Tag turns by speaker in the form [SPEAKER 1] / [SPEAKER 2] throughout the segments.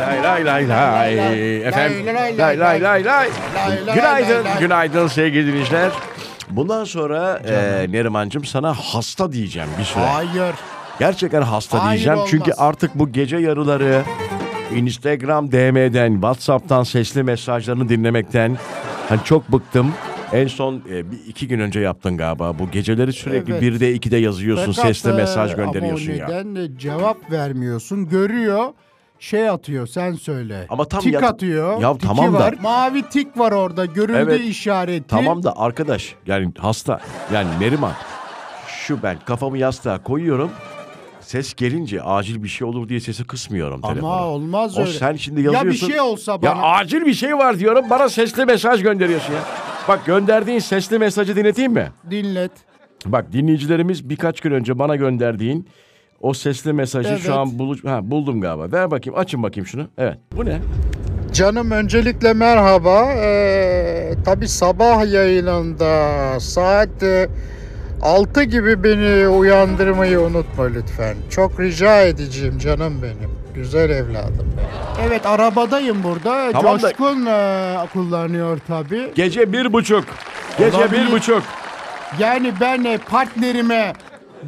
[SPEAKER 1] lay lay. Efendim. Lay lay lay lay lay. Günaydın, günaydın sevgili dinleyiciler. Bundan sonra e, Nerimancığım sana hasta diyeceğim bir süre.
[SPEAKER 2] Hayır.
[SPEAKER 1] Gerçekten hasta
[SPEAKER 2] Hayır,
[SPEAKER 1] diyeceğim
[SPEAKER 2] olmaz.
[SPEAKER 1] çünkü artık bu gece yarıları Instagram DM'den, WhatsApp'tan sesli mesajlarını dinlemekten hani çok bıktım. En son e, bir iki gün önce yaptın galiba. Bu geceleri sürekli
[SPEAKER 2] Evet.
[SPEAKER 1] birde ikide yazıyorsun,
[SPEAKER 2] Fakat,
[SPEAKER 1] sesli
[SPEAKER 2] e,
[SPEAKER 1] mesaj gönderiyorsun
[SPEAKER 2] ama o
[SPEAKER 1] ya.
[SPEAKER 2] neden de cevap vermiyorsun. Görüyor. Şey atıyor sen söyle.
[SPEAKER 1] Ama tam
[SPEAKER 2] tik
[SPEAKER 1] yat-
[SPEAKER 2] atıyor.
[SPEAKER 1] Ya
[SPEAKER 2] tiki
[SPEAKER 1] tamam da-
[SPEAKER 2] var. Mavi tik var orada. Görüldü
[SPEAKER 1] Evet.
[SPEAKER 2] işareti.
[SPEAKER 1] Tamam da arkadaş yani hasta yani Neriman şu ben kafamı yastığa koyuyorum. Ses gelince acil bir şey olur diye sesi kısmıyorum
[SPEAKER 2] Ama
[SPEAKER 1] telefona.
[SPEAKER 2] olmaz
[SPEAKER 1] o
[SPEAKER 2] öyle.
[SPEAKER 1] sen şimdi
[SPEAKER 2] Ya bir
[SPEAKER 1] yazıyorsun.
[SPEAKER 2] şey olsa
[SPEAKER 1] Ya
[SPEAKER 2] bana-
[SPEAKER 1] acil bir şey var diyorum bana sesli mesaj gönderiyorsun ya. Bak gönderdiğin sesli mesajı dinleteyim mi?
[SPEAKER 2] Dinlet.
[SPEAKER 1] Bak dinleyicilerimiz birkaç gün önce bana gönderdiğin o sesli mesajı
[SPEAKER 2] Evet.
[SPEAKER 1] şu an bulu- ha, buldum galiba. Ver bakayım açın bakayım şunu. Evet bu ne?
[SPEAKER 3] Canım öncelikle merhaba. Ee, Tabi sabah yayınında saat e, 6 gibi beni uyandırmayı unutma lütfen. Çok rica edeceğim canım benim. Güzel evladım.
[SPEAKER 2] Evet arabadayım burada.
[SPEAKER 1] Tamam da-
[SPEAKER 2] Coşkun e, kullanıyor tabii.
[SPEAKER 1] Gece bir buçuk. Gece
[SPEAKER 2] Olabilir.
[SPEAKER 1] bir buçuk.
[SPEAKER 2] Yani ben e, partnerime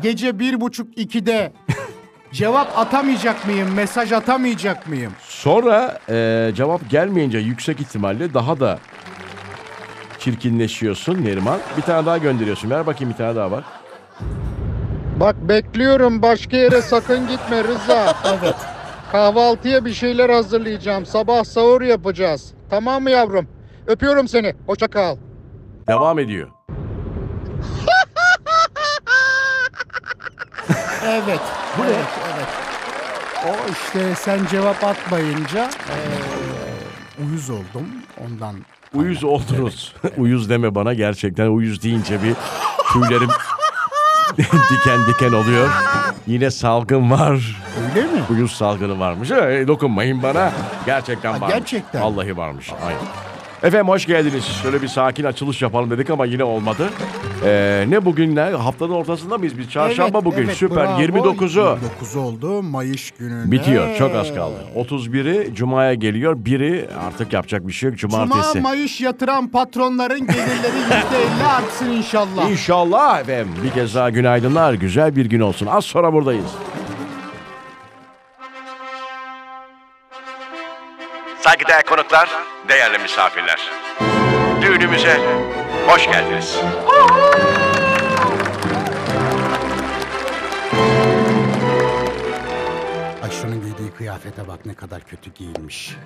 [SPEAKER 2] gece bir buçuk ikide cevap atamayacak mıyım? Mesaj atamayacak mıyım?
[SPEAKER 1] Sonra e, cevap gelmeyince yüksek ihtimalle daha da çirkinleşiyorsun Neriman. Bir tane daha gönderiyorsun. Ver bakayım bir tane daha var.
[SPEAKER 3] Bak bekliyorum başka yere sakın gitme Rıza. evet. Kahvaltıya bir şeyler hazırlayacağım. Sabah sahur yapacağız. Tamam mı yavrum? Öpüyorum seni. Hoşça kal.
[SPEAKER 1] Devam ediyor.
[SPEAKER 2] Evet. evet, evet. O işte sen cevap atmayınca e, uyuz oldum ondan.
[SPEAKER 1] Uyuz oldunuz. uyuz deme bana gerçekten. Uyuz deyince bir tüylerim diken diken oluyor. Yine salgın var.
[SPEAKER 2] Öyle mi?
[SPEAKER 1] Uyuz salgını varmış. Ee, dokunmayın bana. Gerçekten varmış.
[SPEAKER 2] gerçekten.
[SPEAKER 1] Vallahi varmış. Aynen. Efendim hoş geldiniz. Şöyle bir sakin açılış yapalım dedik ama yine olmadı. Ee, ne bugün ne? Haftanın ortasında mıyız biz? Çarşamba
[SPEAKER 2] Evet,
[SPEAKER 1] bugün.
[SPEAKER 2] evet,
[SPEAKER 1] Süper.
[SPEAKER 2] bravo.
[SPEAKER 1] 29'u.
[SPEAKER 2] 29 oldu Mayış gününde.
[SPEAKER 1] Bitiyor. Çok
[SPEAKER 2] Ee.
[SPEAKER 1] az kaldı. 31'i Cuma'ya geliyor. Biri artık yapacak bir şey yok. Cumartesi.
[SPEAKER 2] Cuma Mayış yatıran patronların gelirleri %50 artsın inşallah.
[SPEAKER 1] İnşallah efendim. Bir kez daha günaydınlar. Güzel bir gün olsun. Az sonra buradayız. Saygıdeğer konuklar, değerli misafirler. Düğünümüze hoş geldiniz.
[SPEAKER 2] Ay şunun giydiği kıyafete bak ne kadar kötü giyinmiş.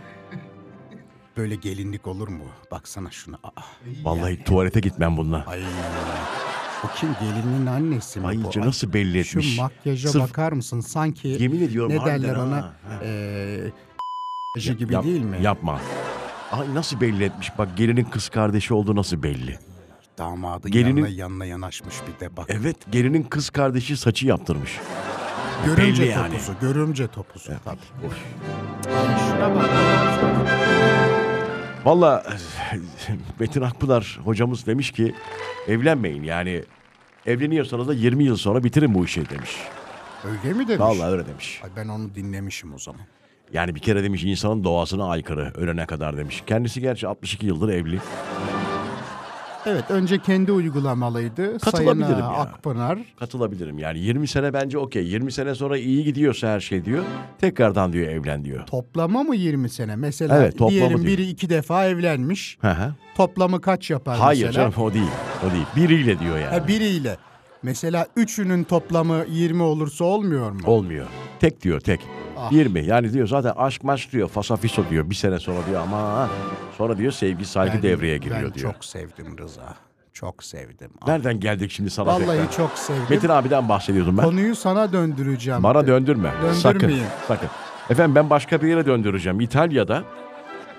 [SPEAKER 2] Böyle gelinlik olur mu? Baksana şuna. Aa,
[SPEAKER 1] Vallahi tuvalete gitmem bununla.
[SPEAKER 2] ay. Bu kim gelinin annesi mi
[SPEAKER 1] Ay
[SPEAKER 2] bu?
[SPEAKER 1] iyice
[SPEAKER 2] Ay,
[SPEAKER 1] nasıl belli etmiş.
[SPEAKER 2] Şu makyaja
[SPEAKER 1] Sırf-
[SPEAKER 2] bakar mısın? Sanki
[SPEAKER 1] Yemin ediyorum
[SPEAKER 2] ne
[SPEAKER 1] harbiden
[SPEAKER 2] derler
[SPEAKER 1] ha,
[SPEAKER 2] ona?
[SPEAKER 1] ha.
[SPEAKER 2] Eee gibi
[SPEAKER 1] Yap-
[SPEAKER 2] değil mi?
[SPEAKER 1] Yapma. Ay nasıl belli etmiş. Bak gelinin kız kardeşi olduğu nasıl belli.
[SPEAKER 2] Damadı
[SPEAKER 1] Gelinin-
[SPEAKER 2] yanına yanına yanaşmış bir de bak.
[SPEAKER 1] Evet gelinin kız kardeşi saçı yaptırmış.
[SPEAKER 2] görümce
[SPEAKER 1] belli yani.
[SPEAKER 2] topuzu, görümce topuzu tabii.
[SPEAKER 1] Of.
[SPEAKER 2] Ay şuna bak.
[SPEAKER 1] Valla Metin Akpınar hocamız demiş ki evlenmeyin yani evleniyorsanız da 20 yıl sonra bitirin bu işi demiş.
[SPEAKER 2] Öyle mi demiş?
[SPEAKER 1] Valla öyle demiş.
[SPEAKER 2] Ay ben onu dinlemişim o zaman.
[SPEAKER 1] Yani bir kere demiş insanın doğasına aykırı ölene kadar demiş. Kendisi gerçi 62 yıldır evli.
[SPEAKER 2] Evet önce kendi uygulamalıydı. Sayın
[SPEAKER 1] Katılabilirim
[SPEAKER 2] e,
[SPEAKER 1] ya.
[SPEAKER 2] Akpınar.
[SPEAKER 1] Katılabilirim yani 20 sene bence okey. 20 sene sonra iyi gidiyorsa her şey diyor. Tekrardan diyor evlen diyor.
[SPEAKER 2] Toplama mı 20 sene? Mesela
[SPEAKER 1] Evet, toplamı
[SPEAKER 2] diyelim
[SPEAKER 1] diyor.
[SPEAKER 2] biri iki defa evlenmiş.
[SPEAKER 1] Hı hı.
[SPEAKER 2] Toplamı kaç yapar
[SPEAKER 1] Hayır
[SPEAKER 2] mesela?
[SPEAKER 1] canım o değil. O değil. Biriyle diyor yani.
[SPEAKER 2] Ha, biriyle. Mesela üçünün toplamı 20 olursa olmuyor mu?
[SPEAKER 1] Olmuyor. Tek diyor tek.
[SPEAKER 2] Ah.
[SPEAKER 1] 20 yani diyor zaten aşk maç diyor fasafiso diyor bir sene sonra diyor ama sonra diyor sevgi saygı
[SPEAKER 2] Ben-
[SPEAKER 1] devreye giriyor
[SPEAKER 2] ben
[SPEAKER 1] diyor.
[SPEAKER 2] çok sevdim Rıza. Çok sevdim.
[SPEAKER 1] Nereden geldik şimdi sana
[SPEAKER 2] Vallahi
[SPEAKER 1] tekrar?
[SPEAKER 2] çok sevdim.
[SPEAKER 1] Metin abiden bahsediyordum ben.
[SPEAKER 2] Konuyu sana döndüreceğim.
[SPEAKER 1] Bana döndürme. Sakın.
[SPEAKER 2] Döndürmeyeyim.
[SPEAKER 1] Sakın. Efendim ben başka bir yere döndüreceğim. İtalya'da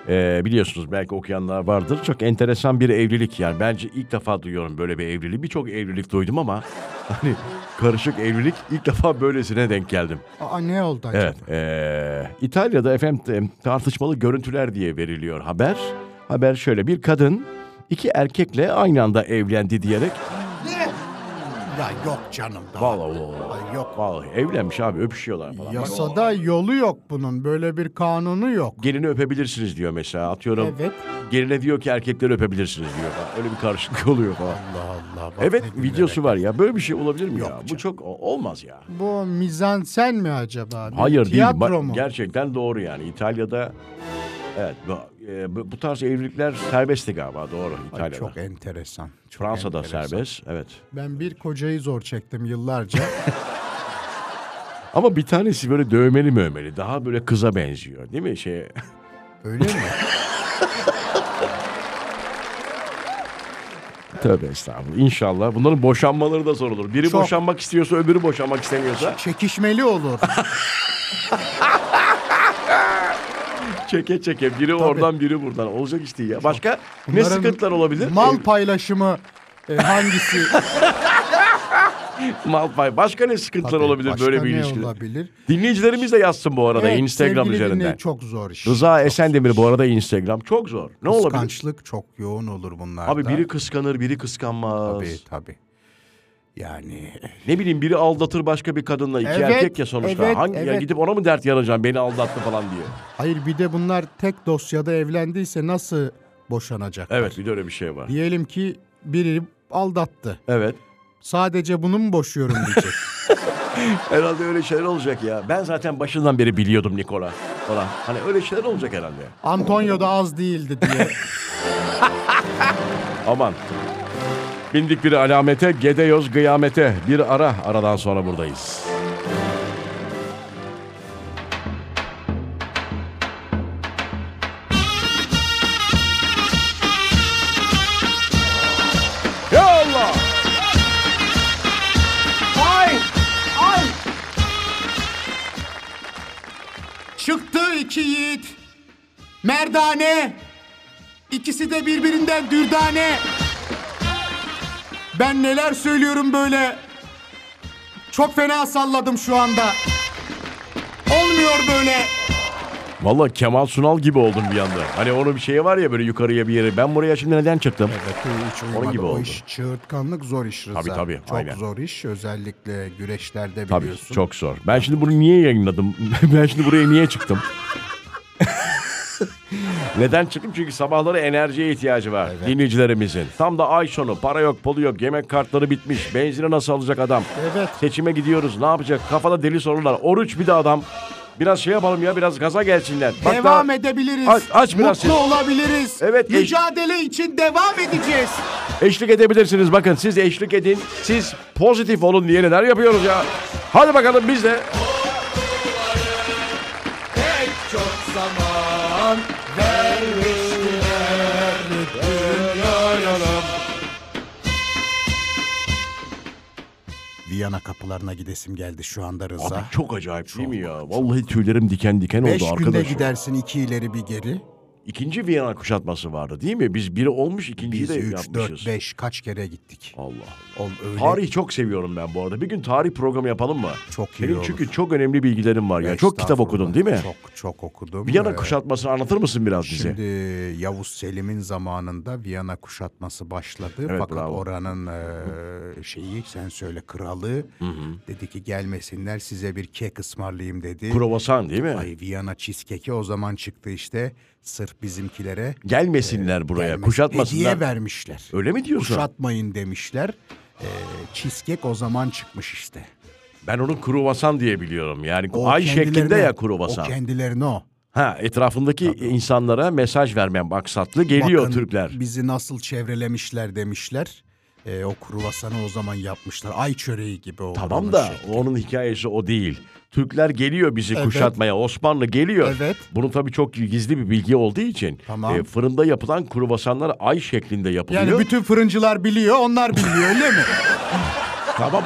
[SPEAKER 1] e, biliyorsunuz belki okuyanlar vardır. Çok enteresan bir evlilik yani. Bence ilk defa duyuyorum böyle bir evliliği. Birçok evlilik duydum ama hani karışık evlilik ilk defa böylesine denk geldim.
[SPEAKER 2] Aa ne oldu acaba?
[SPEAKER 1] Evet. eee, İtalya'da efendim t- tartışmalı görüntüler diye veriliyor haber. Haber şöyle bir kadın iki erkekle aynı anda evlendi diyerek
[SPEAKER 2] Ya yok canım. Daha.
[SPEAKER 1] Vallahi o.
[SPEAKER 2] Ay yok.
[SPEAKER 1] Vallahi evlenmiş abi öpüşüyorlar falan. Bak,
[SPEAKER 2] Yasada yolu yok bunun. Böyle bir kanunu yok.
[SPEAKER 1] gelini öpebilirsiniz diyor mesela. Atıyorum
[SPEAKER 2] Evet.
[SPEAKER 1] geline diyor ki erkekleri öpebilirsiniz diyor. falan. Öyle bir karşılık oluyor falan.
[SPEAKER 2] Allah Allah. bak
[SPEAKER 1] Evet
[SPEAKER 2] ne dinlemek.
[SPEAKER 1] videosu var ya. Böyle bir şey olabilir mi
[SPEAKER 2] Yok
[SPEAKER 1] ya? Bu
[SPEAKER 2] canım.
[SPEAKER 1] çok o- olmaz ya.
[SPEAKER 2] Bu mizansen mi acaba? Bir
[SPEAKER 1] Hayır değil.
[SPEAKER 2] tiyatro
[SPEAKER 1] Ba-
[SPEAKER 2] mu?
[SPEAKER 1] Gerçekten doğru yani. İtalya'da evet bu, e, bu bu tarz evlilikler serbestti galiba doğru
[SPEAKER 2] Ay,
[SPEAKER 1] İtalya'da.
[SPEAKER 2] çok enteresan. Çok
[SPEAKER 1] Fransa'da
[SPEAKER 2] enteresan.
[SPEAKER 1] serbest evet.
[SPEAKER 2] Ben bir kocayı zor çektim yıllarca.
[SPEAKER 1] Ama bir tanesi böyle dövmeli mövmeli daha böyle kıza benziyor değil mi şey?
[SPEAKER 2] Öyle mi?
[SPEAKER 1] Tövbe estağfurullah. İnşallah bunların boşanmaları da sorulur. Biri
[SPEAKER 2] Çok.
[SPEAKER 1] boşanmak istiyorsa öbürü boşanmak istemiyorsa
[SPEAKER 2] Çekişmeli olur.
[SPEAKER 1] çeke çeke biri oradan biri buradan olacak iş değil ya. Başka ne
[SPEAKER 2] Bunların
[SPEAKER 1] sıkıntılar olabilir?
[SPEAKER 2] Mal
[SPEAKER 1] Ev-
[SPEAKER 2] paylaşımı e, hangisi?
[SPEAKER 1] mal pay. Başka ne sıkıntılar
[SPEAKER 2] Tabii,
[SPEAKER 1] olabilir
[SPEAKER 2] başka
[SPEAKER 1] böyle bir
[SPEAKER 2] ne
[SPEAKER 1] ilişkide?
[SPEAKER 2] olabilir?
[SPEAKER 1] Dinleyicilerimiz de yazsın bu arada
[SPEAKER 2] Evet,
[SPEAKER 1] Instagram
[SPEAKER 2] sevgili
[SPEAKER 1] üzerinden.
[SPEAKER 2] dinleyici, Çok zor iş.
[SPEAKER 1] Rıza Esendemir bu arada Instagram çok zor. Ne olabilir?
[SPEAKER 2] Kıskançlık çok yoğun olur bunlarda.
[SPEAKER 1] Abi biri kıskanır, biri kıskanmaz.
[SPEAKER 2] Tabii tabii. Yani
[SPEAKER 1] Ne bileyim biri aldatır başka bir kadınla. iki
[SPEAKER 2] Evet,
[SPEAKER 1] erkek ya sonuçta.
[SPEAKER 2] evet,
[SPEAKER 1] Hangi ya
[SPEAKER 2] evet.
[SPEAKER 1] gidip ona mı dert yanacağım beni aldattı falan diye.
[SPEAKER 2] hayır bir de bunlar tek dosyada evlendiyse nasıl boşanacak?
[SPEAKER 1] Evet bir de öyle bir şey var.
[SPEAKER 2] Diyelim ki biri aldattı.
[SPEAKER 1] Evet.
[SPEAKER 2] Sadece bunu mu boşuyorum diyecek.
[SPEAKER 1] Herhalde öyle şeyler olacak ya. Ben zaten başından beri biliyordum Nikola falan. Hani öyle şeyler olacak herhalde.
[SPEAKER 2] Antonio da az değildi diye.
[SPEAKER 1] Aman. Bindik bir alamete, gedeyoz kıyamete. Bir ara, aradan sonra buradayız. Ya Allah!
[SPEAKER 2] ay! Ay! Çıktı iki yiğit. Merdane. İkisi de birbirinden dürdane. Ben neler söylüyorum böyle. Çok fena salladım şu anda. Olmuyor böyle.
[SPEAKER 1] Valla Kemal Sunal gibi oldum bir anda. Hani onun bir şeyi var ya böyle yukarıya bir yere. Ben buraya şimdi neden çıktım?
[SPEAKER 2] hiç
[SPEAKER 1] uyumadı. gibi O oldu. iş
[SPEAKER 2] iş çığırtkanlık zor iş Rıza.
[SPEAKER 1] Tabii, tabii, Çok
[SPEAKER 2] Çok
[SPEAKER 1] aynen.
[SPEAKER 2] zor iş özellikle güreşlerde
[SPEAKER 1] Tabii
[SPEAKER 2] biliyorsun.
[SPEAKER 1] çok zor. Ben şimdi bunu niye yayınladım? ben şimdi buraya niye çıktım? Neden çıktım? Çünkü sabahları enerjiye ihtiyacı var dinleyicilerimizin. Tam da ay sonu para yok, pulu yok, yemek kartları bitmiş, benzini nasıl alacak adam?
[SPEAKER 2] Evet.
[SPEAKER 1] Seçime gidiyoruz, ne yapacak? Kafada deli sorular. Oruç bir de adam. Biraz şey yapalım ya, biraz gaza gelsinler. Bak
[SPEAKER 2] devam
[SPEAKER 1] daha
[SPEAKER 2] edebiliriz.
[SPEAKER 1] Aç- aç biraz
[SPEAKER 2] Mutlu
[SPEAKER 1] seni.
[SPEAKER 2] olabiliriz.
[SPEAKER 1] Evet, eş-
[SPEAKER 2] Mücadele için devam edeceğiz.
[SPEAKER 1] Eşlik edebilirsiniz. Bakın siz eşlik edin. Siz pozitif olun diye neler yapıyoruz ya. Hadi bakalım biz de.
[SPEAKER 2] Viyana kapılarına gidesim geldi şu anda Rıza.
[SPEAKER 1] Abi çok acayip değil mi ya? Vallahi tüylerim diken diken
[SPEAKER 2] Beş
[SPEAKER 1] oldu
[SPEAKER 2] günde
[SPEAKER 1] arkadaşım.
[SPEAKER 2] gidersin iki ileri bir geri.
[SPEAKER 1] İkinci Viyana kuşatması vardı değil mi? Biz biri olmuş ikinciyi
[SPEAKER 2] Biz
[SPEAKER 1] de
[SPEAKER 2] 3,
[SPEAKER 1] yapmışız.
[SPEAKER 2] 4, 5 kaç kere gittik.
[SPEAKER 1] Allah.
[SPEAKER 2] Ol, öyle
[SPEAKER 1] Tarihi çok seviyorum ben bu arada. Bir gün tarih programı yapalım mı?
[SPEAKER 2] Çok iyi
[SPEAKER 1] Benim
[SPEAKER 2] olur.
[SPEAKER 1] çünkü çok önemli bilgilerim var ya. Çok kitap
[SPEAKER 2] Estağfurullah.
[SPEAKER 1] okudun değil mi?
[SPEAKER 2] Çok çok okudum.
[SPEAKER 1] Viyana
[SPEAKER 2] Ee,
[SPEAKER 1] kuşatmasını anlatır mısın biraz bize?
[SPEAKER 2] Şimdi Yavuz Selim'in zamanında Viyana kuşatması başladı.
[SPEAKER 1] Evet,
[SPEAKER 2] Fakat
[SPEAKER 1] bravo.
[SPEAKER 2] oranın e, şeyi sen söyle kralı dedi ki gelmesinler size bir kek ısmarlayayım dedi.
[SPEAKER 1] Kruvasan değil mi?
[SPEAKER 2] Ay Viyana cheesecake'i o zaman çıktı işte sırf bizimkilere
[SPEAKER 1] Gelmesinler buraya.
[SPEAKER 2] gelmez-
[SPEAKER 1] E, Kuşatmasınlar.
[SPEAKER 2] Hediye vermişler.
[SPEAKER 1] Öyle mi diyorsun?
[SPEAKER 2] Kuşatmayın demişler. Ee, cheesecake o zaman çıkmış işte.
[SPEAKER 1] Ben onu kruvasan diye biliyorum. Yani
[SPEAKER 2] O
[SPEAKER 1] ay
[SPEAKER 2] kendilerine-
[SPEAKER 1] şeklinde ya
[SPEAKER 2] O
[SPEAKER 1] kruvasan.
[SPEAKER 2] kendilerine o.
[SPEAKER 1] Ha etrafındaki insanlara mesaj vermem maksatlı geliyor
[SPEAKER 2] Bakın
[SPEAKER 1] Türkler.
[SPEAKER 2] bizi nasıl çevrelemişler demişler. Ee, o kruvasanı o zaman yapmışlar. Ay çöreği gibi o.
[SPEAKER 1] Tamam
[SPEAKER 2] oranın
[SPEAKER 1] da
[SPEAKER 2] şekli.
[SPEAKER 1] onun hikayesi o değil. Türkler geliyor bizi
[SPEAKER 2] Evet.
[SPEAKER 1] kuşatmaya. Osmanlı geliyor.
[SPEAKER 2] Evet.
[SPEAKER 1] Bunu tabii çok gizli bir bilgi olduğu için e,
[SPEAKER 2] Tamam.
[SPEAKER 1] fırında yapılan kruvasanlar ay şeklinde yapılıyor.
[SPEAKER 2] Yani bütün fırıncılar biliyor, onlar bilmiyor öyle mi?
[SPEAKER 1] Tamam.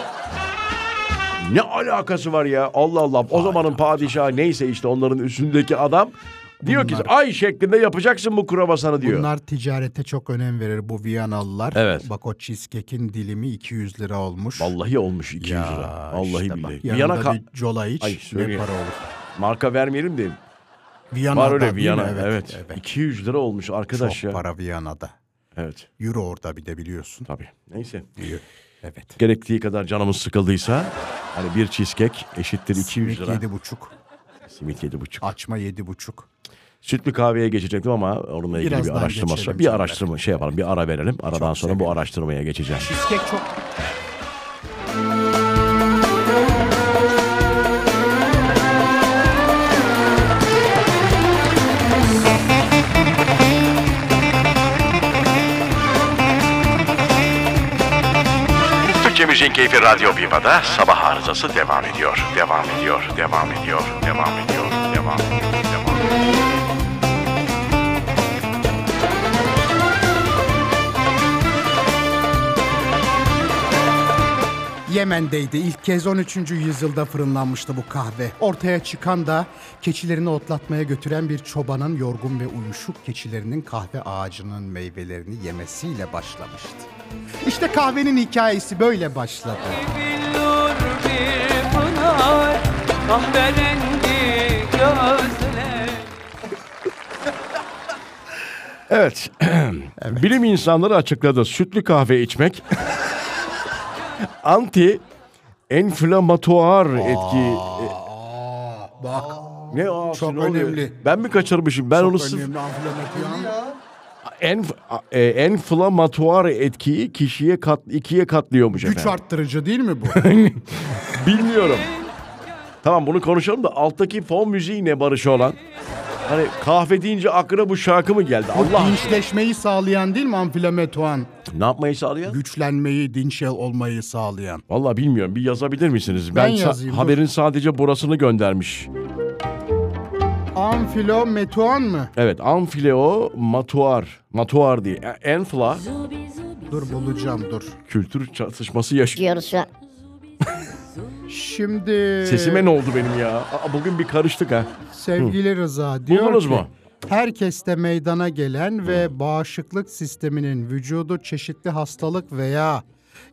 [SPEAKER 1] Ne alakası var ya? Allah Allah. O zamanın padişahı neyse işte onların üstündeki adam diyor ki ay şeklinde yapacaksın bu kruvasanı diyor.
[SPEAKER 2] Bunlar ticarete çok önem verir bu Viyanalılar.
[SPEAKER 1] Evet.
[SPEAKER 2] Bak o cheesecake'in dilimi 200 lira olmuş.
[SPEAKER 1] Vallahi olmuş 200
[SPEAKER 2] Ya
[SPEAKER 1] lira. Vallahi
[SPEAKER 2] işte bak,
[SPEAKER 1] billahi. Viyana
[SPEAKER 2] Yanında
[SPEAKER 1] ka-
[SPEAKER 2] bir cola iç
[SPEAKER 1] Ay,
[SPEAKER 2] ne
[SPEAKER 1] söyleyeyim.
[SPEAKER 2] para olur.
[SPEAKER 1] marka vermeyelim de
[SPEAKER 2] Viyana'da
[SPEAKER 1] var öyle
[SPEAKER 2] değil mi?
[SPEAKER 1] Viyana. Evet,
[SPEAKER 2] evet.
[SPEAKER 1] 200 lira olmuş arkadaş
[SPEAKER 2] Çok
[SPEAKER 1] ya.
[SPEAKER 2] para Viyana'da.
[SPEAKER 1] Evet.
[SPEAKER 2] Euro orada bir de biliyorsun.
[SPEAKER 1] Tabii. Neyse.
[SPEAKER 2] Diyor. Evet.
[SPEAKER 1] Gerektiği kadar canımız sıkıldıysa hani bir cheesecake eşittir 200
[SPEAKER 2] Simit
[SPEAKER 1] lira.
[SPEAKER 2] yedi buçuk.
[SPEAKER 1] Simit yedi buçuk.
[SPEAKER 2] Açma yedi buçuk.
[SPEAKER 1] Sütlü kahveye geçecektim ama onunla ilgili
[SPEAKER 2] Birazdan
[SPEAKER 1] bir araştırma
[SPEAKER 2] geçelim
[SPEAKER 1] bir
[SPEAKER 2] canım.
[SPEAKER 1] araştırma şey yapalım bir ara verelim. Aradan sonra bu araştırmaya geçeceğiz.
[SPEAKER 2] Cheesecake çok
[SPEAKER 1] Türkçe Müziğin Keyfi Radyo Viva'da sabah arızası devam ediyor. Devam ediyor, devam ediyor, devam ediyor, devam ediyor, devam ediyor.
[SPEAKER 2] Yemen'deydi. İlk kez 13. yüzyılda fırınlanmıştı bu kahve. Ortaya çıkan da keçilerini otlatmaya götüren bir çobanın yorgun ve uyuşuk keçilerinin kahve ağacının meyvelerini yemesiyle başlamıştı. İşte kahvenin hikayesi böyle başladı.
[SPEAKER 4] Billur bir pınar kahverengi gözler
[SPEAKER 1] Evet. Bilim insanları açıkladı. Sütlü kahve içmek anti enflamatuar etki E,
[SPEAKER 2] Bak
[SPEAKER 1] ne abi,
[SPEAKER 2] Çok
[SPEAKER 1] ne oluyor?
[SPEAKER 2] önemli.
[SPEAKER 1] Ben mi kaçırmışım? Ben onu sırf enf, e, enflamatuar etkiyi kişiye kat ikiye katlıyormuş
[SPEAKER 2] Güç
[SPEAKER 1] efendim.
[SPEAKER 2] arttırıcı değil mi bu?
[SPEAKER 1] Bilmiyorum. Tamam bunu konuşalım da alttaki fon müziği ne Barış olan? Hani kahve deyince aklına bu şarkı mı geldi? Allah
[SPEAKER 2] Dinçleşmeyi
[SPEAKER 1] şey.
[SPEAKER 2] sağlayan değil mi amfilametuan?
[SPEAKER 1] ne yapmayı sağlıyor?
[SPEAKER 2] Güçlenmeyi, dinçel olmayı sağlayan.
[SPEAKER 1] Vallahi bilmiyorum. Bir yazabilir misiniz?
[SPEAKER 2] Ben
[SPEAKER 1] Ben, sa-
[SPEAKER 2] yazayım, dur.
[SPEAKER 1] haberin sadece burasını göndermiş.
[SPEAKER 2] Amfilometuan mı?
[SPEAKER 1] Evet, amfileo matuar. Matuar diye. E- Enfla
[SPEAKER 2] Dur bulacağım dur.
[SPEAKER 1] kültür çatışması yaşıyor.
[SPEAKER 5] diyoruz şu an.
[SPEAKER 2] Şimdi
[SPEAKER 1] Sesime ne oldu benim ya? Aa, bugün bir karıştık ha.
[SPEAKER 2] sevgili Rıza diyor
[SPEAKER 1] Buldunuz
[SPEAKER 2] ki,
[SPEAKER 1] mu?
[SPEAKER 2] herkeste meydana gelen ve bağışıklık sisteminin vücudu çeşitli hastalık veya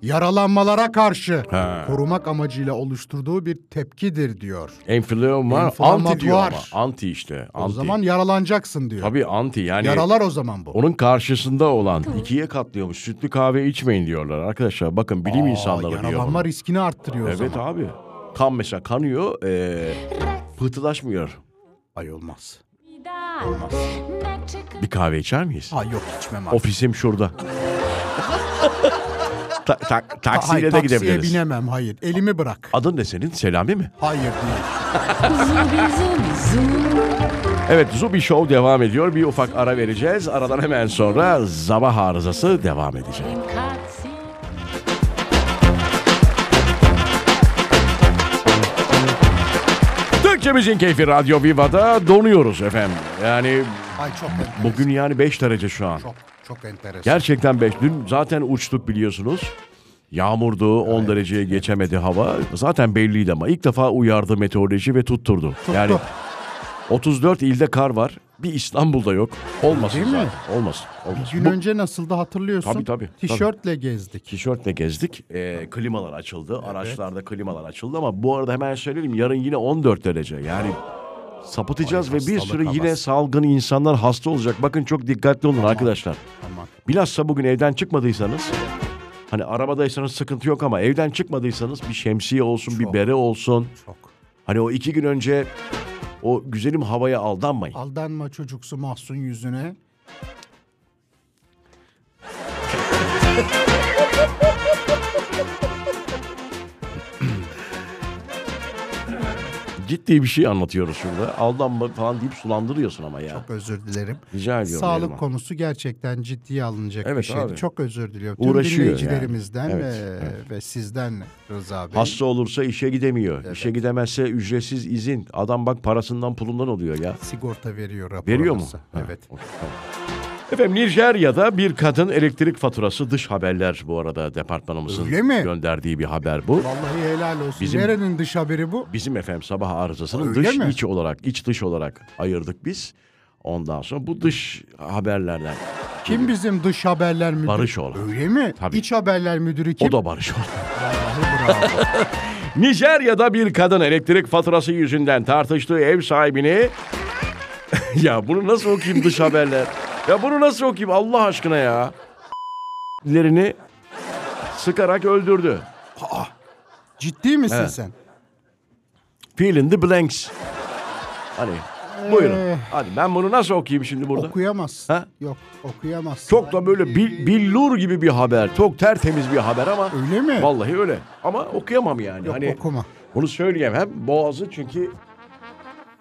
[SPEAKER 2] yaralanmalara karşı korumak amacıyla oluşturduğu bir tepkidir diyor.
[SPEAKER 1] Enfileo ma- anti diyor ama.
[SPEAKER 2] Enflamatuar.
[SPEAKER 1] Anti işte.
[SPEAKER 2] O
[SPEAKER 1] Anti.
[SPEAKER 2] zaman yaralanacaksın diyor.
[SPEAKER 1] Tabii anti yani.
[SPEAKER 2] Yaralar o zaman bu.
[SPEAKER 1] Onun karşısında olan ikiye katlıyormuş. Sütlü kahve içmeyin diyorlar arkadaşlar. Bakın bilim insanları diyor.
[SPEAKER 2] Yaralanma
[SPEAKER 1] bunu.
[SPEAKER 2] riskini arttırıyor o
[SPEAKER 1] Evet
[SPEAKER 2] zaman.
[SPEAKER 1] abi. Kan mesela kanıyor. ee, pıhtılaşmıyor.
[SPEAKER 2] Ay olmaz.
[SPEAKER 1] Bir kahve içer miyiz?
[SPEAKER 2] Ay yok içmem abi.
[SPEAKER 1] Ofisim şurada. Ta- ta- taksiyle
[SPEAKER 2] Hayır,
[SPEAKER 1] de
[SPEAKER 2] taksiye
[SPEAKER 1] gidebiliriz.
[SPEAKER 2] binemem hayır. Elimi bırak.
[SPEAKER 1] Adın ne senin? Selami mi?
[SPEAKER 2] Hayır değil.
[SPEAKER 1] Evet Zubi Show devam ediyor. Bir ufak ara vereceğiz. Aradan hemen sonra Zaba Arızası devam edecek. Türkçe Müziğin Keyfi Radyo Viva'da donuyoruz efendim. Yani
[SPEAKER 2] Ay çok enteresan.
[SPEAKER 1] bugün yani 5 derece şu an.
[SPEAKER 2] Çok, çok enteresan.
[SPEAKER 1] Gerçekten 5. Dün zaten uçtuk biliyorsunuz. Yağmurdu, 10 dereceye geçemedi hava. Zaten belliydi ama ilk defa uyardı meteoroloji ve tutturdu. Yani 34 ilde kar var. Bir İstanbul'da yok. Olmasın
[SPEAKER 2] Değil mi?
[SPEAKER 1] zaten. Olmasın. olmasın.
[SPEAKER 2] Gün
[SPEAKER 1] Bu-
[SPEAKER 2] önce nasıldı hatırlıyorsun.
[SPEAKER 1] Tabii, tabii, tabii.
[SPEAKER 2] Tişörtle gezdik.
[SPEAKER 1] Tişörtle gezdik. Ee, klimalar açıldı. Araçlarda klimalar açıldı ama bu arada hemen söyleyelim yarın yine 14 derece. Yani sapıtacağız
[SPEAKER 2] Ay,
[SPEAKER 1] ve bir
[SPEAKER 2] hastalık
[SPEAKER 1] sürü yine
[SPEAKER 2] havası.
[SPEAKER 1] salgın insanlar hasta olacak. Bakın çok dikkatli olun arkadaşlar.
[SPEAKER 2] Aman.
[SPEAKER 1] Bilhassa bugün evden çıkmadıysanız hani arabadaysanız sıkıntı yok ama evden çıkmadıysanız bir şemsiye olsun, bir bere olsun.
[SPEAKER 2] Çok.
[SPEAKER 1] Hani o iki gün önce o güzelim havaya
[SPEAKER 2] Ah.
[SPEAKER 1] aldanmayın.
[SPEAKER 2] Aldanma çocuksu mahzun yüzüne.
[SPEAKER 1] Ciddi bir şey anlatıyoruz şurada. Aldanma falan deyip sulandırıyorsun ama ya.
[SPEAKER 2] Çok özür dilerim.
[SPEAKER 1] Rica ediyorum.
[SPEAKER 2] Sağlık
[SPEAKER 1] Neriman.
[SPEAKER 2] konusu gerçekten ciddiye alınacak bir
[SPEAKER 1] Evet
[SPEAKER 2] şeydi.
[SPEAKER 1] abi.
[SPEAKER 2] Çok özür diliyorum. Tüm
[SPEAKER 1] Uğraşıyor yani.
[SPEAKER 2] dinleyicilerimizden
[SPEAKER 1] Evet,
[SPEAKER 2] ve, ve sizden Rıza Bey.
[SPEAKER 1] Hasta olursa işe gidemiyor. İşe gidemezse ücretsiz izin. Adam bak parasından pulundan oluyor ya.
[SPEAKER 2] Sigorta veriyor raporu.
[SPEAKER 1] Veriyor mu?
[SPEAKER 2] Rıza.
[SPEAKER 1] Ha,
[SPEAKER 2] Evet.
[SPEAKER 1] okey, tamam. Efendim Nijerya'da bir kadın elektrik faturası dış haberler bu arada departmanımızın
[SPEAKER 2] Öyle mi?
[SPEAKER 1] gönderdiği bir haber bu.
[SPEAKER 2] Vallahi helal olsun.
[SPEAKER 1] Bizim-
[SPEAKER 2] Nerenin dış haberi bu?
[SPEAKER 1] Bizim efendim sabah arızasının
[SPEAKER 2] Öyle
[SPEAKER 1] dış
[SPEAKER 2] mi?
[SPEAKER 1] iç olarak iç dış olarak ayırdık biz. Ondan sonra bu dış haberlerden
[SPEAKER 2] Kim bizim dış haberler müdürü?
[SPEAKER 1] Barış olan.
[SPEAKER 2] Öyle mi?
[SPEAKER 1] Tabii.
[SPEAKER 2] İç haberler müdürü kim?
[SPEAKER 1] O da barış oldu.
[SPEAKER 2] Vallahi bravo.
[SPEAKER 1] Nijerya'da bir kadın elektrik faturası yüzünden tartıştığı ev sahibini... ya bunu nasıl okuyayım dış haberler? Ya bunu nasıl okuyayım Allah aşkına ya? ...lerini sıkarak öldürdü.
[SPEAKER 2] Ciddi misin
[SPEAKER 1] Evet.
[SPEAKER 2] sen?
[SPEAKER 1] Fill in the blanks. Hani
[SPEAKER 2] Ee.
[SPEAKER 1] buyurun. Hadi ben bunu nasıl okuyayım şimdi burada?
[SPEAKER 2] Okuyamazsın.
[SPEAKER 1] Ha?
[SPEAKER 2] Yok okuyamazsın.
[SPEAKER 1] Çok da böyle bil- billur gibi bir haber. Çok tertemiz bir haber ama.
[SPEAKER 2] Öyle mi?
[SPEAKER 1] Vallahi öyle. Ama okuyamam yani.
[SPEAKER 2] Yok
[SPEAKER 1] hani
[SPEAKER 2] okuma.
[SPEAKER 1] Bunu söyleyemem. Boğazı çünkü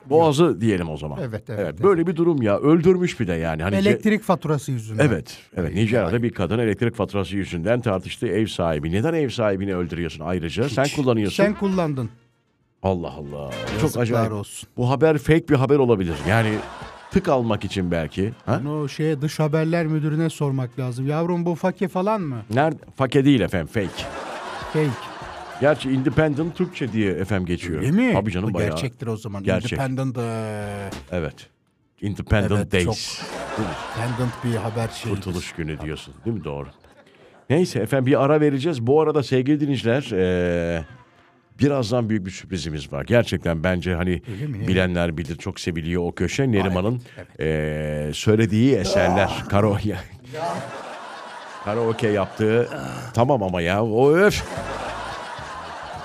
[SPEAKER 1] boğazı diyelim o zaman.
[SPEAKER 2] Evet, evet, evet.
[SPEAKER 1] Böyle bir durum ya. Öldürmüş bir de yani. Hani
[SPEAKER 2] Elektrik faturası yüzünden.
[SPEAKER 1] Evet. Evet. Nijerya'da bir kadın elektrik faturası yüzünden tartıştı ev sahibi. Neden ev sahibini öldürüyorsun ayrıca? Sen kullanıyorsun.
[SPEAKER 2] Sen kullandın.
[SPEAKER 1] Allah Allah. Çok
[SPEAKER 2] Yazıklar
[SPEAKER 1] acayip.
[SPEAKER 2] olsun.
[SPEAKER 1] Bu haber fake bir haber olabilir. Yani tık almak için belki. Ha?
[SPEAKER 2] Bunu şeye dış haberler müdürüne sormak lazım. Yavrum bu fake falan mı?
[SPEAKER 1] Nerede? Fake değil efendim fake.
[SPEAKER 2] Fake.
[SPEAKER 1] Gerçi independent Türkçe diye efem geçiyor.
[SPEAKER 2] Değil mi?
[SPEAKER 1] Tabii canım
[SPEAKER 2] Bu
[SPEAKER 1] bayağı.
[SPEAKER 2] Gerçektir o zaman.
[SPEAKER 1] Gerçek.
[SPEAKER 2] Independent, e, eee,
[SPEAKER 1] Evet. Independent
[SPEAKER 2] Evet,
[SPEAKER 1] Days. Değil mi?
[SPEAKER 2] independent bir haber şey. şeyi.
[SPEAKER 1] Kurtuluş günü diyorsun. Değil mi? Doğru. Neyse efendim bir ara vereceğiz. Bu arada sevgili dinleyiciler eee, birazdan büyük bir sürprizimiz var. Gerçekten bence hani bilenler bilir çok seviliyor o köşe. Neriman'ın eee, söylediği eserler. Karaoke. Karaoke yaptığı. tamam ama ya. O öf.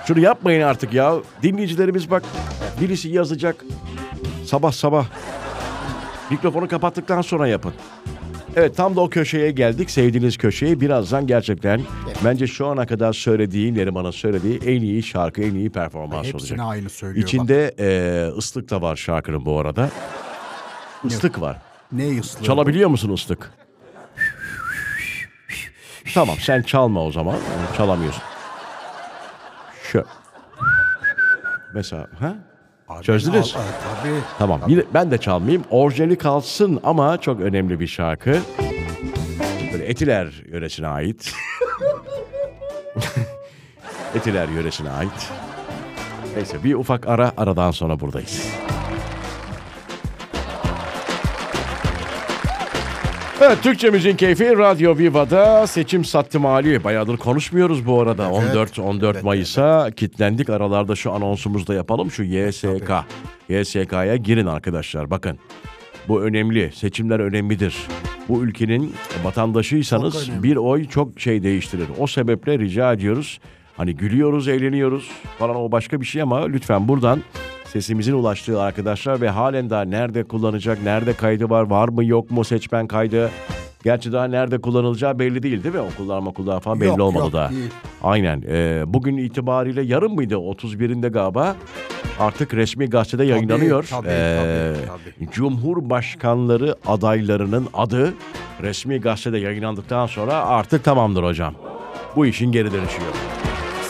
[SPEAKER 1] Şunu yapmayın artık ya. Dinleyicilerimiz bak birisi yazacak. Sabah sabah. Mikrofonu kapattıktan sonra yapın. Evet tam da o köşeye geldik. Sevdiğiniz köşeye birazdan gerçekten bence şu ana kadar söylediği, Neriman'ın söylediği en iyi şarkı, en iyi performans
[SPEAKER 2] Hepsine
[SPEAKER 1] olacak.
[SPEAKER 2] aynı söylüyor. bak.
[SPEAKER 1] İçinde eee, ıslık da var şarkının bu arada. Islık var.
[SPEAKER 2] ne ıslığı?
[SPEAKER 1] Çalabiliyor musun ıslık? tamam sen çalma o zaman. Çalamıyorsun. Şö. Mesela ha?
[SPEAKER 2] Abi,
[SPEAKER 1] Çözdünüz.
[SPEAKER 2] al- al- Tabii.
[SPEAKER 1] Tamam. Yine ben de çalmayayım. Orijinali kalsın ama çok önemli bir şarkı. Böyle Etiler yöresine ait. Etiler yöresine ait. Neyse bir ufak ara aradan sonra buradayız. Evet Türkçe Müziğin Keyfi Radyo Viva'da seçim sattım hali. Bayağıdır konuşmuyoruz bu arada. 14 14 Mayıs'a kitlendik. Aralarda şu anonsumuzu da yapalım. Şu YSK. YSK'ya girin arkadaşlar. Bakın. Bu önemli. Seçimler önemlidir. Bu ülkenin vatandaşıysanız bir oy çok şey değiştirir. O sebeple rica ediyoruz. Hani gülüyoruz, eğleniyoruz falan o başka bir şey ama lütfen buradan sesimizin ulaştığı arkadaşlar ve halen daha nerede kullanacak, nerede kaydı var, var mı yok mu seçmen kaydı. Gerçi daha nerede kullanılacağı belli değil değil mi? Okullar okullar falan belli
[SPEAKER 2] Yok,
[SPEAKER 1] olmadı
[SPEAKER 2] yok,
[SPEAKER 1] daha.
[SPEAKER 2] değil.
[SPEAKER 1] Aynen. Ee, bugün itibariyle yarın mıydı? 31'inde galiba artık resmi gazetede yayınlanıyor.
[SPEAKER 2] tabii,
[SPEAKER 1] Ee,
[SPEAKER 2] tabii,
[SPEAKER 1] Cumhurbaşkanları adaylarının adı resmi gazetede yayınlandıktan sonra artık tamamdır hocam. Bu işin geri dönüşü yok.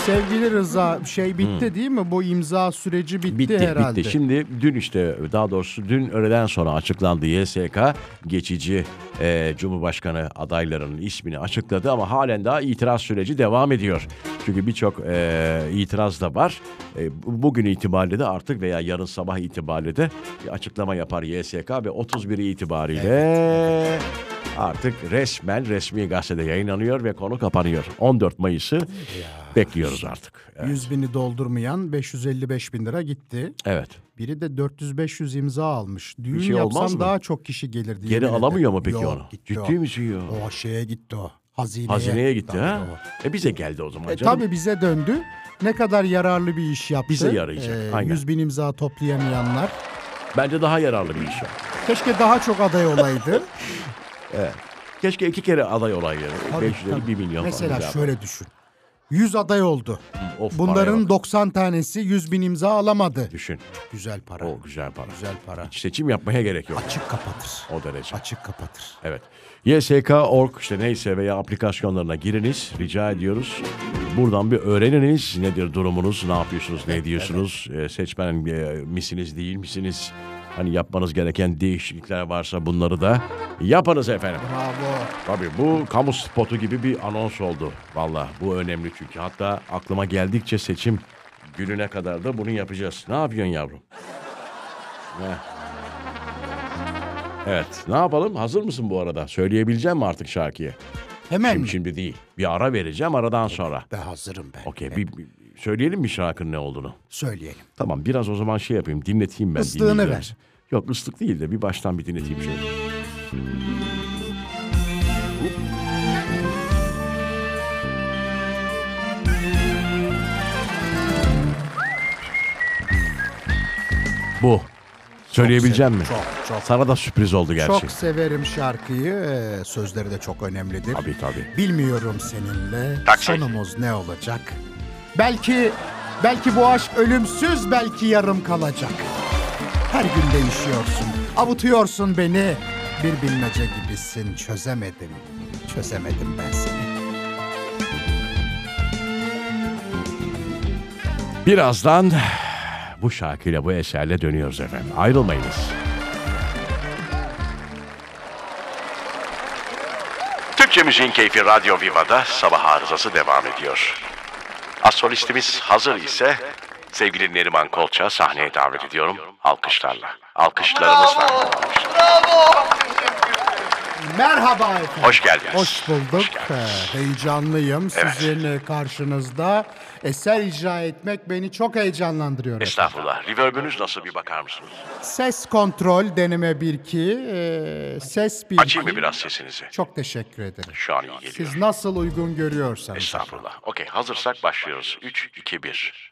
[SPEAKER 2] Sevgili Rıza şey bitti değil mi? Bu imza süreci bitti,
[SPEAKER 1] Hmm. Bitti,
[SPEAKER 2] herhalde.
[SPEAKER 1] bitti. Şimdi dün işte daha doğrusu dün öğleden sonra açıklandı YSK geçici e, Cumhurbaşkanı adaylarının ismini açıkladı ama halen daha itiraz süreci devam ediyor. Çünkü birçok e, itiraz da var. E, bu- bugün itibariyle de artık veya yarın sabah itibariyle de bir açıklama yapar YSK ve 31 itibariyle artık resmen resmi gazetede yayınlanıyor ve konu kapanıyor. 14 Mayıs'ı bekliyoruz artık. Evet.
[SPEAKER 2] 100 bini doldurmayan 555 bin lira gitti.
[SPEAKER 1] evet.
[SPEAKER 2] Biri de 400-500 imza almış. Düğün
[SPEAKER 1] şey olmaz
[SPEAKER 2] yapsam
[SPEAKER 1] mı?
[SPEAKER 2] daha çok kişi gelirdi. yemin
[SPEAKER 1] Geri
[SPEAKER 2] ederim.
[SPEAKER 1] alamıyor mu peki
[SPEAKER 2] Yok,
[SPEAKER 1] onu?
[SPEAKER 2] Gitti
[SPEAKER 1] Ciddi
[SPEAKER 2] o.
[SPEAKER 1] misin ya?
[SPEAKER 2] O şeye gitti o. Hazineye.
[SPEAKER 1] Hazineye gitti
[SPEAKER 2] Tabii
[SPEAKER 1] ha?
[SPEAKER 2] o.
[SPEAKER 1] E bize geldi o zaman
[SPEAKER 2] E,
[SPEAKER 1] canım.
[SPEAKER 2] tabii bize döndü. Ne kadar yararlı bir iş yaptı.
[SPEAKER 1] Bize yarayacak, aynen.
[SPEAKER 2] 100 bin imza toplayamayanlar.
[SPEAKER 1] Bence daha yararlı bir iş. o.
[SPEAKER 2] Keşke daha çok aday olaydı.
[SPEAKER 1] Keşke iki kere aday olaydı.
[SPEAKER 2] Tabii,
[SPEAKER 1] 500
[SPEAKER 2] tabii.
[SPEAKER 1] 1 milyon
[SPEAKER 2] Mesela
[SPEAKER 1] falan.
[SPEAKER 2] şöyle düşün. 100 aday oldu.
[SPEAKER 1] Of, paraya
[SPEAKER 2] Bunların
[SPEAKER 1] bak.
[SPEAKER 2] 90 tanesi 100 bin imza alamadı.
[SPEAKER 1] Düşün.
[SPEAKER 2] Güzel para.
[SPEAKER 1] O güzel para.
[SPEAKER 2] Güzel para.
[SPEAKER 1] Hiç seçim yapmaya gerek yok.
[SPEAKER 2] Açık kapatır.
[SPEAKER 1] O derece.
[SPEAKER 2] Açık kapatır.
[SPEAKER 1] Evet. YSK.org işte neyse veya aplikasyonlarına giriniz. Rica ediyoruz. Buradan bir öğreniniz. Nedir durumunuz, ne yapıyorsunuz, ne ediyorsunuz. Ee, Seçmen e, misiniz, değil misiniz? Hani yapmanız gereken değişiklikler varsa bunları da yapınız efendim.
[SPEAKER 2] Bravo.
[SPEAKER 1] Tabii bu kamu spotu gibi bir anons oldu. Valla bu önemli çünkü. Hatta aklıma geldikçe seçim gününe kadar da bunu yapacağız. Ne yapıyorsun yavrum? Heh. Evet ne yapalım? Hazır mısın bu arada? Söyleyebileceğim mi artık şarkıyı?
[SPEAKER 2] Hemen
[SPEAKER 1] Şimdi,
[SPEAKER 2] mi?
[SPEAKER 1] şimdi değil. Bir ara vereceğim aradan sonra.
[SPEAKER 2] Ben hazırım ben.
[SPEAKER 1] Okey bir, bir- söyleyelim mi şarkının ne olduğunu?
[SPEAKER 2] Söyleyelim.
[SPEAKER 1] Tamam biraz o zaman şey yapayım dinleteyim ben.
[SPEAKER 2] Islığını
[SPEAKER 1] dinleyicilerimize.
[SPEAKER 2] ver.
[SPEAKER 1] Yok ıslık değil de bir baştan bir dinleteyim şöyle. Bu. Söyleyebileceğim mi?
[SPEAKER 2] severim, çok, çok.
[SPEAKER 1] Sana da sürpriz oldu gerçi.
[SPEAKER 2] Çok severim şarkıyı. Ee, Sözleri de çok önemlidir.
[SPEAKER 1] Tabii tabii.
[SPEAKER 2] Bilmiyorum seninle
[SPEAKER 5] şey.
[SPEAKER 2] sonumuz ne olacak. Belki belki bu aşk ölümsüz belki yarım kalacak. Her gün değişiyorsun. Avutuyorsun beni. Bir bilmece gibisin çözemedim. Çözemedim ben seni.
[SPEAKER 1] Birazdan bu şarkıyla bu eserle dönüyoruz efendim. Ayrılmayınız.
[SPEAKER 5] Türkçe Müziğin Keyfi Radyo Viva'da sabah arızası devam ediyor. Astrolistimiz hazır ise sevgili Neriman Kolça sahneye davet ediyorum alkışlarla. Alkışlarımız var.
[SPEAKER 2] Merhaba efendim.
[SPEAKER 5] Hoş geldiniz.
[SPEAKER 2] Hoş bulduk.
[SPEAKER 5] Hoş geldiniz.
[SPEAKER 2] Ee, Heyecanlıyım.
[SPEAKER 5] Evet.
[SPEAKER 2] Sizin e, karşınızda eser icra etmek beni çok heyecanlandırıyor. efendim.
[SPEAKER 5] Estağfurullah. Reverb'ünüz nasıl bir bakar mısınız?
[SPEAKER 2] Ses kontrol deneme 1-2, ee, ses 1
[SPEAKER 5] Açayım mı biraz sesinizi?
[SPEAKER 2] Çok teşekkür ederim.
[SPEAKER 5] Şu an iyi geliyor.
[SPEAKER 2] Siz nasıl uygun görüyorsanız.
[SPEAKER 5] Estağfurullah. Okey hazırsak başlıyoruz. 3, 2, 1.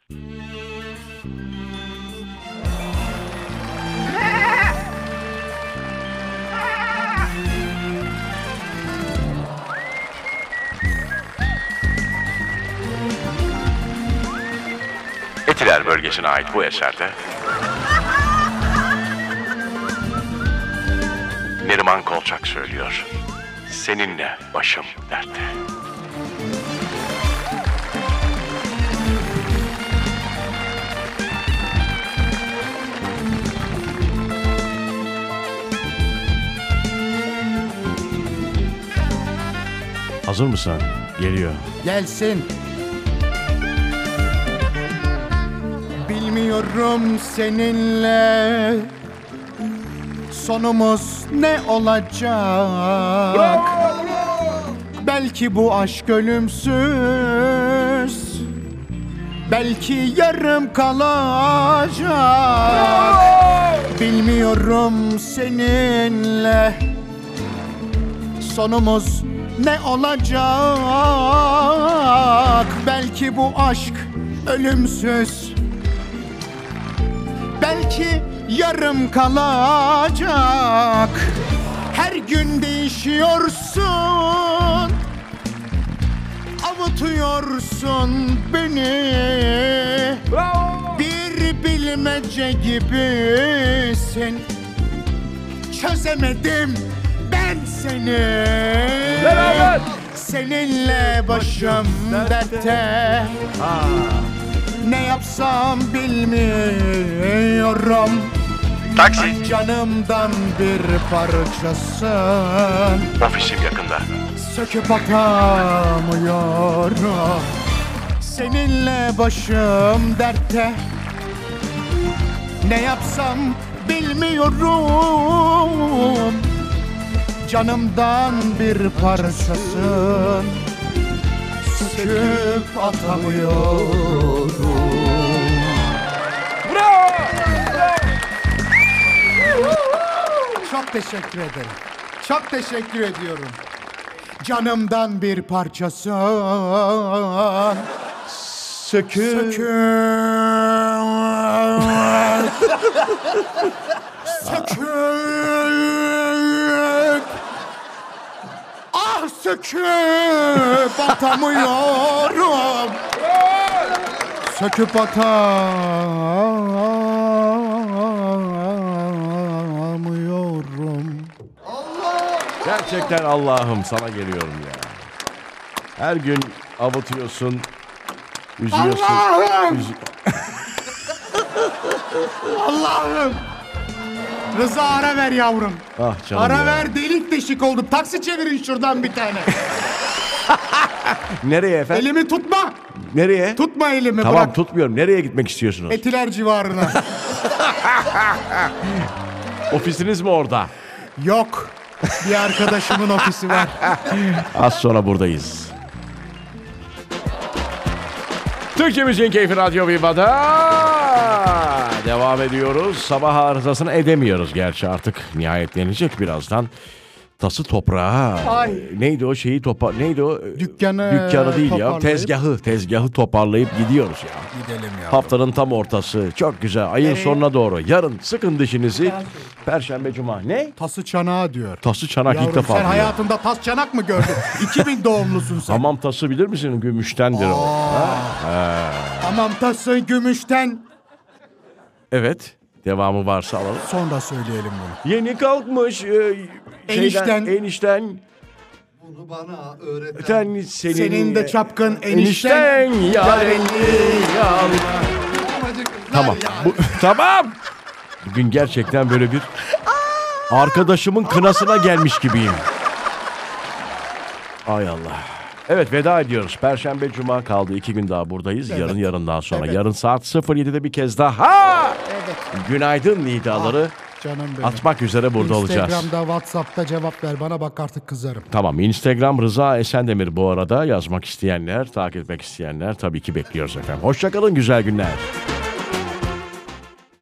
[SPEAKER 5] Etiler bölgesine ait bu eserde Neriman Kolçak söylüyor. Seninle başım dertte.
[SPEAKER 1] Hazır mısın? Geliyor.
[SPEAKER 2] Gelsin. Bilmiyorum seninle sonumuz ne olacak. Belki bu aşk ölümsüz. Belki yarım kalacak. Bilmiyorum seninle sonumuz ne olacak? Belki bu aşk ölümsüz. Belki yarım kalacak. Her gün değişiyorsun. Avutuyorsun beni. Bir bilmece gibisin çözemedim ben seni. Seninle başım dertte. Ne yapsam bilmiyorum.
[SPEAKER 5] Taksi.
[SPEAKER 2] Canımdan bir parçasın.
[SPEAKER 5] Ofisim yakında.
[SPEAKER 2] Söküp atamıyorum Seninle başım dertte Ne yapsam bilmiyorum Canımdan bir parçasın Söküp atamıyorum Çok teşekkür ederim. Çok teşekkür ediyorum. Canımdan bir parçasın. Sökül. Sökül. Sökül. Ah söküp atamıyorum. Söküp atamıyorum.
[SPEAKER 1] Gerçekten Allah'ım sana geliyorum ya. Her gün avutuyorsun, üzüyorsun.
[SPEAKER 2] Allah'ım!
[SPEAKER 1] üzü-
[SPEAKER 2] Allah'ım. Rıza ara ver yavrum.
[SPEAKER 1] Ah canım
[SPEAKER 2] Ara
[SPEAKER 1] ya.
[SPEAKER 2] ver delik deşik oldum. Taksi çevirin şuradan bir tane.
[SPEAKER 1] Nereye efendim?
[SPEAKER 2] elimi tutma.
[SPEAKER 1] Nereye?
[SPEAKER 2] Tutma elimi
[SPEAKER 1] Tamam
[SPEAKER 2] bırak.
[SPEAKER 1] tutmuyorum. Nereye gitmek istiyorsunuz?
[SPEAKER 2] Etiler civarına.
[SPEAKER 1] Ofisiniz mi orada?
[SPEAKER 2] Yok. Bir arkadaşımın ofisi var.
[SPEAKER 1] Az sonra buradayız. Türkçe Müziğin Keyfi Radyo Viva'da devam ediyoruz. Sabah arızasını edemiyoruz gerçi artık nihayetlenecek birazdan. tası toprağa.
[SPEAKER 2] Ay.
[SPEAKER 1] Ee, Neydi o şeyi topar neydi o? Ee,
[SPEAKER 2] Dükkanı
[SPEAKER 1] Dükkanı değil ya.
[SPEAKER 2] toparlayıp-
[SPEAKER 1] Tezgahı. Tezgahı toparlayıp gidiyoruz ya.
[SPEAKER 2] Gidelim ya.
[SPEAKER 1] Haftanın tam ortası. Çok güzel. Ayın sonuna doğru. Yarın sıkın dişinizi. Perşembe, cuma. Ne?
[SPEAKER 2] Tası çanağı diyor.
[SPEAKER 1] Tası çanak ilk
[SPEAKER 2] Yavrum
[SPEAKER 1] defa.
[SPEAKER 2] sen
[SPEAKER 1] duyuyorum.
[SPEAKER 2] hayatında tas çanak mı gördün? 2000 doğumlusun sen.
[SPEAKER 1] Hamam tası bilir misin? Gümüştendir o.
[SPEAKER 2] Tamam tası gümüşten.
[SPEAKER 1] Evet. Devamı varsa alalım.
[SPEAKER 2] Sonra söyleyelim bunu.
[SPEAKER 1] Yeni kalkmış. e,
[SPEAKER 2] Enişten.
[SPEAKER 1] Enişten.
[SPEAKER 6] Bunu bana öğreten
[SPEAKER 1] Sen, senin,
[SPEAKER 2] Senin de
[SPEAKER 1] e,
[SPEAKER 2] çapkın enişten.
[SPEAKER 1] enişten. yarenli yal. Tamam. Bu, tamam. Bugün gerçekten böyle bir arkadaşımın kınasına gelmiş gibiyim. Ay Allah. Evet veda ediyoruz. Perşembe, cuma kaldı. iki gün daha buradayız. Yarın yarından sonra. Yarın saat 07'de bir kez daha. Günaydın nidaları
[SPEAKER 2] Canım benim.
[SPEAKER 1] atmak üzere burada olacağız.
[SPEAKER 2] Ah, Instagram'da, Whatsapp'ta cevap ver. Bana bak artık kızarım.
[SPEAKER 1] Tamam Instagram Rıza Esendemir bu arada yazmak isteyenler, takip etmek isteyenler tabii ki bekliyoruz efendim. Hoşçakalın güzel günler.